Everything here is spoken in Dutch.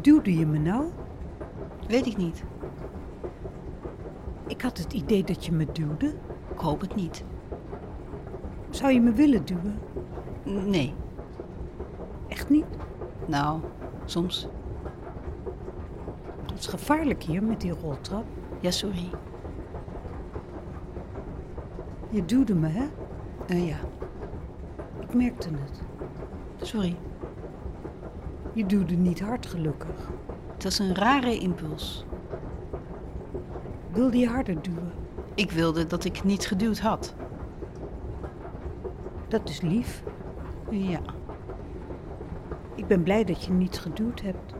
duwde je me nou? Weet ik niet. Ik had het idee dat je me duwde. Ik hoop het niet. Zou je me willen duwen? N- Nee. Echt niet? Nou, soms. Het is gevaarlijk hier met die roltrap. Ja, sorry. Je duwde me, hè? Eh, ja, Ik merkte het. sorry. Je duwde niet hard, gelukkig. Het was een rare impuls. Wilde je harder duwen? Ik wilde dat ik niet geduwd had. Dat is lief. Ja. Ik ben blij dat je niet geduwd hebt.